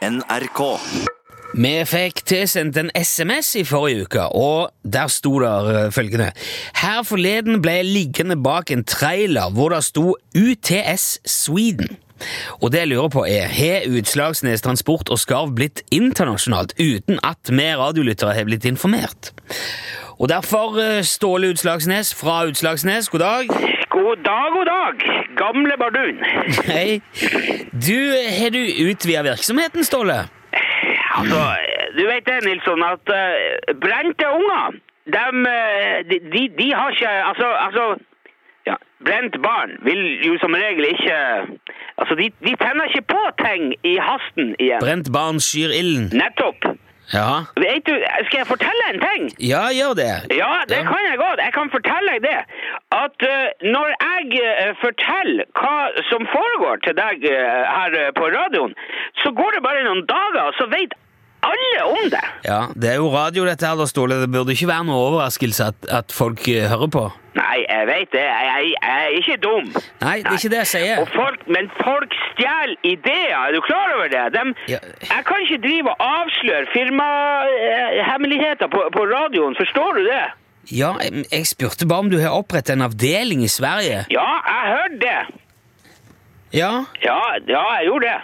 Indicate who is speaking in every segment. Speaker 1: NRK.
Speaker 2: Vi fikk tilsendt en SMS i forrige uke, og der sto det eh, følgende Her forleden ble jeg liggende bak en trailer hvor det sto UTS Sweden. Og det jeg lurer på er, har Utslagsnes Transport og Skarv blitt internasjonalt uten at vi radiolyttere har blitt informert? Og derfor, eh, Ståle Utslagsnes fra Utslagsnes, god dag.
Speaker 3: God dag, god dag, gamle bardun.
Speaker 2: Hei. Du, har du utvida virksomheten, Ståle?
Speaker 3: Altså, du vet det, Nilsson, at eh, brente unger, dem, eh, de, de, de har ikke Altså, altså ja, brent barn vil jo som regel ikke Altså, de, de tenner ikke på ting i hasten igjen.
Speaker 2: Brent barn skyr ilden.
Speaker 3: Nettopp.
Speaker 2: Ja.
Speaker 3: Vet du, skal jeg fortelle en ting?
Speaker 2: Ja, gjør det.
Speaker 3: Ja, det
Speaker 2: Ja.
Speaker 3: kan jeg godt. Jeg kan fortelle deg det. At eh, når jeg eh, forteller hva som foregår til deg eh, her eh, på radioen, så går det bare noen dager, og så vet alle om det.
Speaker 2: Ja, Det er jo radio, dette her, da, Ståle. Det burde ikke være noe overraskelse at, at folk eh, hører på.
Speaker 3: Nei, jeg vet det. Jeg, jeg, jeg er ikke dum.
Speaker 2: Nei, det er ikke det jeg
Speaker 3: Og
Speaker 2: sier.
Speaker 3: folk, men folk stjeler ideer. Er du klar over det? Dem-
Speaker 2: Ja.
Speaker 3: Jeg kan ikke drive og avsløre firmahemmeligheter på, på radioen. Forstår du det?
Speaker 2: Ja, jeg, jeg spurte bare om du har opprettet en avdeling i Sverige.
Speaker 3: Ja, jeg hørte det.
Speaker 2: Ja,
Speaker 3: Ja, ja jeg gjorde det.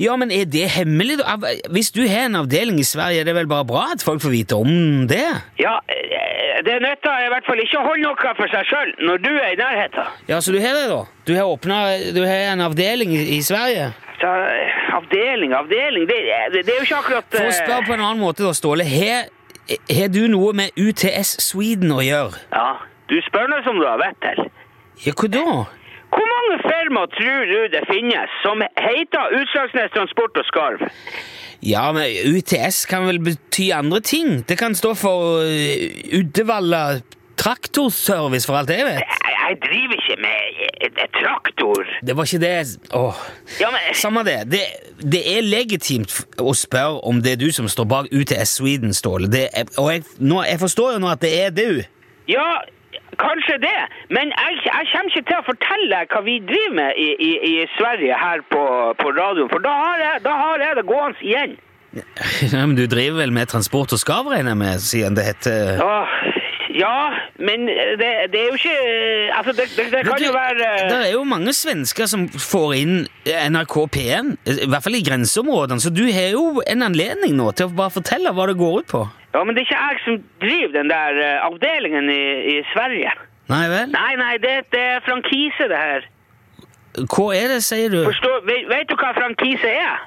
Speaker 2: ja men er det hemmelig? da? Av- Hvis du har en avdeling i Sverige, er det vel bare bra at folk får vite om det?
Speaker 3: Ja, eh, det nytter i hvert fall ikke å holde noe for seg sjøl når du er i nærheten.
Speaker 2: Ja, så du har det, da? Du har, åpnet, du har en avdeling i, i Sverige?
Speaker 3: Så, eh, avdeling, avdeling Det, det, det er jo ikke akkurat
Speaker 2: For å
Speaker 3: eh,
Speaker 2: spørre på en annen måte, da, Ståle. Har har du noe med UTS Sweden å gjøre?
Speaker 3: eh, Ja, Du spør nå som du har vett til.
Speaker 2: Ja, hva da?
Speaker 3: Hvor mange firma tror du det finnes som heter Utslagsnes Transport og Skarv?
Speaker 2: Ja, men UTS kan vel bety andre ting? Det kan stå for eh, Uddevalla Traktorservice, for alt jeg vet.
Speaker 3: Jeg, jeg driver ikke med eh, eh, traktor.
Speaker 2: Det var ikke det jeg- Åh.
Speaker 3: Ja, men
Speaker 2: Samme det. det. Det er legitimt f- å spørre om det er du som står bak UTS Sweden, Ståle. Det er, og jeg, nå, jeg forstår jo nå at det er du.
Speaker 3: Ja, kanskje det. Men jeg, jeg kommer ikke til å fortelle deg hva vi driver med i, i, i Sverige her på, på radioen, for da har jeg, da har jeg det gående igjen.
Speaker 2: Ja, men du driver vel med transport og skarv, regner jeg med, siden det heter
Speaker 3: Åh, ja, men det, det er jo ikke eh, Altså, det, det, det kan jo være
Speaker 2: Det
Speaker 3: eh,
Speaker 2: er jo mange svensker som får inn eh, NRK P1, eh, i hvert fall i grenseområdene, så du har jo en anledning nå til å bare fortelle hva det går ut på.
Speaker 3: Ja, men det er ikke jeg som driver den der eh, avdelingen i, i Sverige.
Speaker 2: Nei vel?
Speaker 3: Nei, nei, det, det er frankise, det her.
Speaker 2: Hva er det, sier du?
Speaker 3: Forstår, vet, vet du hva frankise er?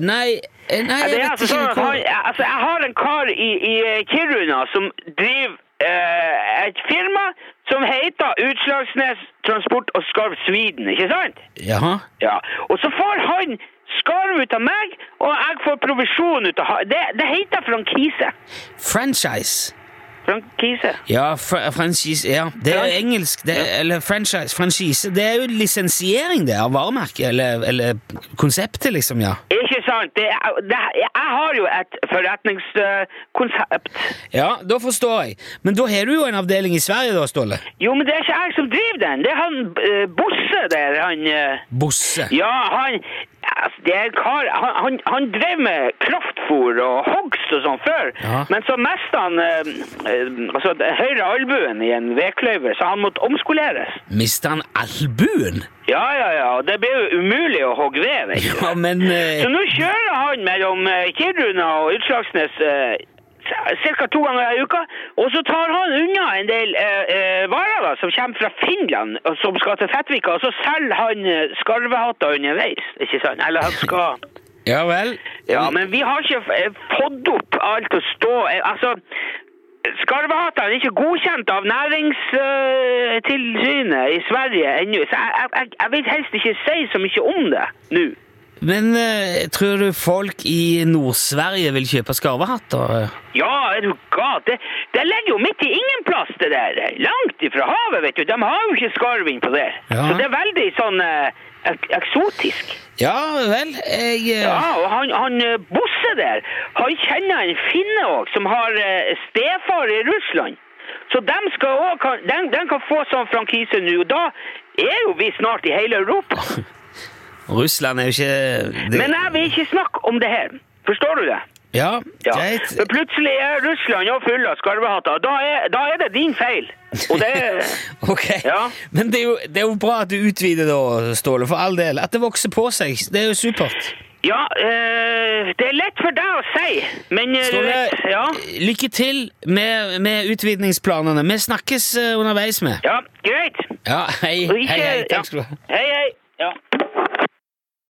Speaker 2: Nei, eh, nei
Speaker 3: Ja,
Speaker 2: jeg
Speaker 3: det er
Speaker 2: vet
Speaker 3: altså
Speaker 2: ikke
Speaker 3: sånn at
Speaker 2: hva
Speaker 3: han, ja, altså, jeg har en kar i, i eh, Kiruna som driver eh, et firma som heter Utslagsnes Transport og Skarv Sweden, ikke sant?
Speaker 2: Jaha.
Speaker 3: Ja. Og så får han skarv ut av meg, og jeg får provisjon ut av han. Det, det heter frankise.
Speaker 2: Franchise.
Speaker 3: Frankise.
Speaker 2: Ja, fr franchise, ja. Det er jo
Speaker 3: Frank-
Speaker 2: engelsk. Det, Eller franchise. Franchise. Det er jo lisensiering, det, av varemerket, eller, eller konseptet, liksom, ja.
Speaker 3: Ikke sant? Det, er- det, er- jeg har jo et forretningskonsept.
Speaker 2: Ja, da forstår jeg. Men da har du jo en avdeling i Sverige, da, Ståle.
Speaker 3: Jo, men det er ikke jeg som driver den. Det er han eh, Bosse der, han eh,
Speaker 2: Bosse.
Speaker 3: Ja, han altså, det er en kar, han, han, han drev med kraftfôr og hogst og sånn før,
Speaker 2: Ja.
Speaker 3: men så mest han eh, eh, altså, det høyre albuen i en vedkløyver, så han måtte omskoleres.
Speaker 2: Mista han albuen?
Speaker 3: Ja, ja, ja, og det ble jo umulig å hogge ved, vet du.
Speaker 2: Ja, men
Speaker 3: Så
Speaker 2: eh,
Speaker 3: nå kjører han mellom eh, Kiruna og Utslagsnes eh, ca. to ganger i uka, og så tar han unna en del eh, eh, varer da, som kommer fra Finland, og som skal til Fettvika, og så selger han eh, skarvehatter underveis, ikke sant? Eller han skal...
Speaker 2: Ja vel.
Speaker 3: Ja, men vi har ikke eh, fått opp alt å stå eh, Altså, skarvehater er ikke godkjent av næringstilsynet i Sverige ennå, så jeg, jeg, jeg- jeg vil helst ikke si så mye om det nå.
Speaker 2: Men eh, tror du folk i Nord-Sverige vil kjøpe skarvehatter?
Speaker 3: Ja, er du gal? Det, det ligger jo midt i ingen plass, det der. Langt ifra havet, vet du. De har jo ikke skarv innpå der.
Speaker 2: Ja.
Speaker 3: Så det er veldig sånn eh, ek eksotisk.
Speaker 2: Ja vel, jeg eh,
Speaker 3: Ja, og han, han eh, Bosse der, han kjenner en finne òg, som har eh, stefar i Russland. Så dem skal også, kan, dem, dem kan få sånn frankise nå, og da er jo vi snart i hele Europa.
Speaker 2: Russland er jo ikke det,
Speaker 3: Men jeg vil ikke snakke om det her. Forstår du det?
Speaker 2: Ja,
Speaker 3: Ja.
Speaker 2: greit.
Speaker 3: For plutselig er Russland jo full av skarvehatter. Da er, da er det din feil. Og det
Speaker 2: Ok.
Speaker 3: Ja.
Speaker 2: Men det er, jo, det er jo bra at du utvider, da, Ståle, for all del. At det vokser på seg, det er jo supert.
Speaker 3: Ja, eh, det er lett for deg å si, men eh, du
Speaker 2: Ståle,
Speaker 3: vet Ja,
Speaker 2: lykke til med, med utvidningsplanene. Vi snakkes eh, underveis med.
Speaker 3: ja greit.
Speaker 2: Ja, hei,
Speaker 3: Og
Speaker 2: hei,
Speaker 3: ikke
Speaker 2: hei.
Speaker 3: ja.
Speaker 2: Takk skal du ha.
Speaker 3: Hei, hei.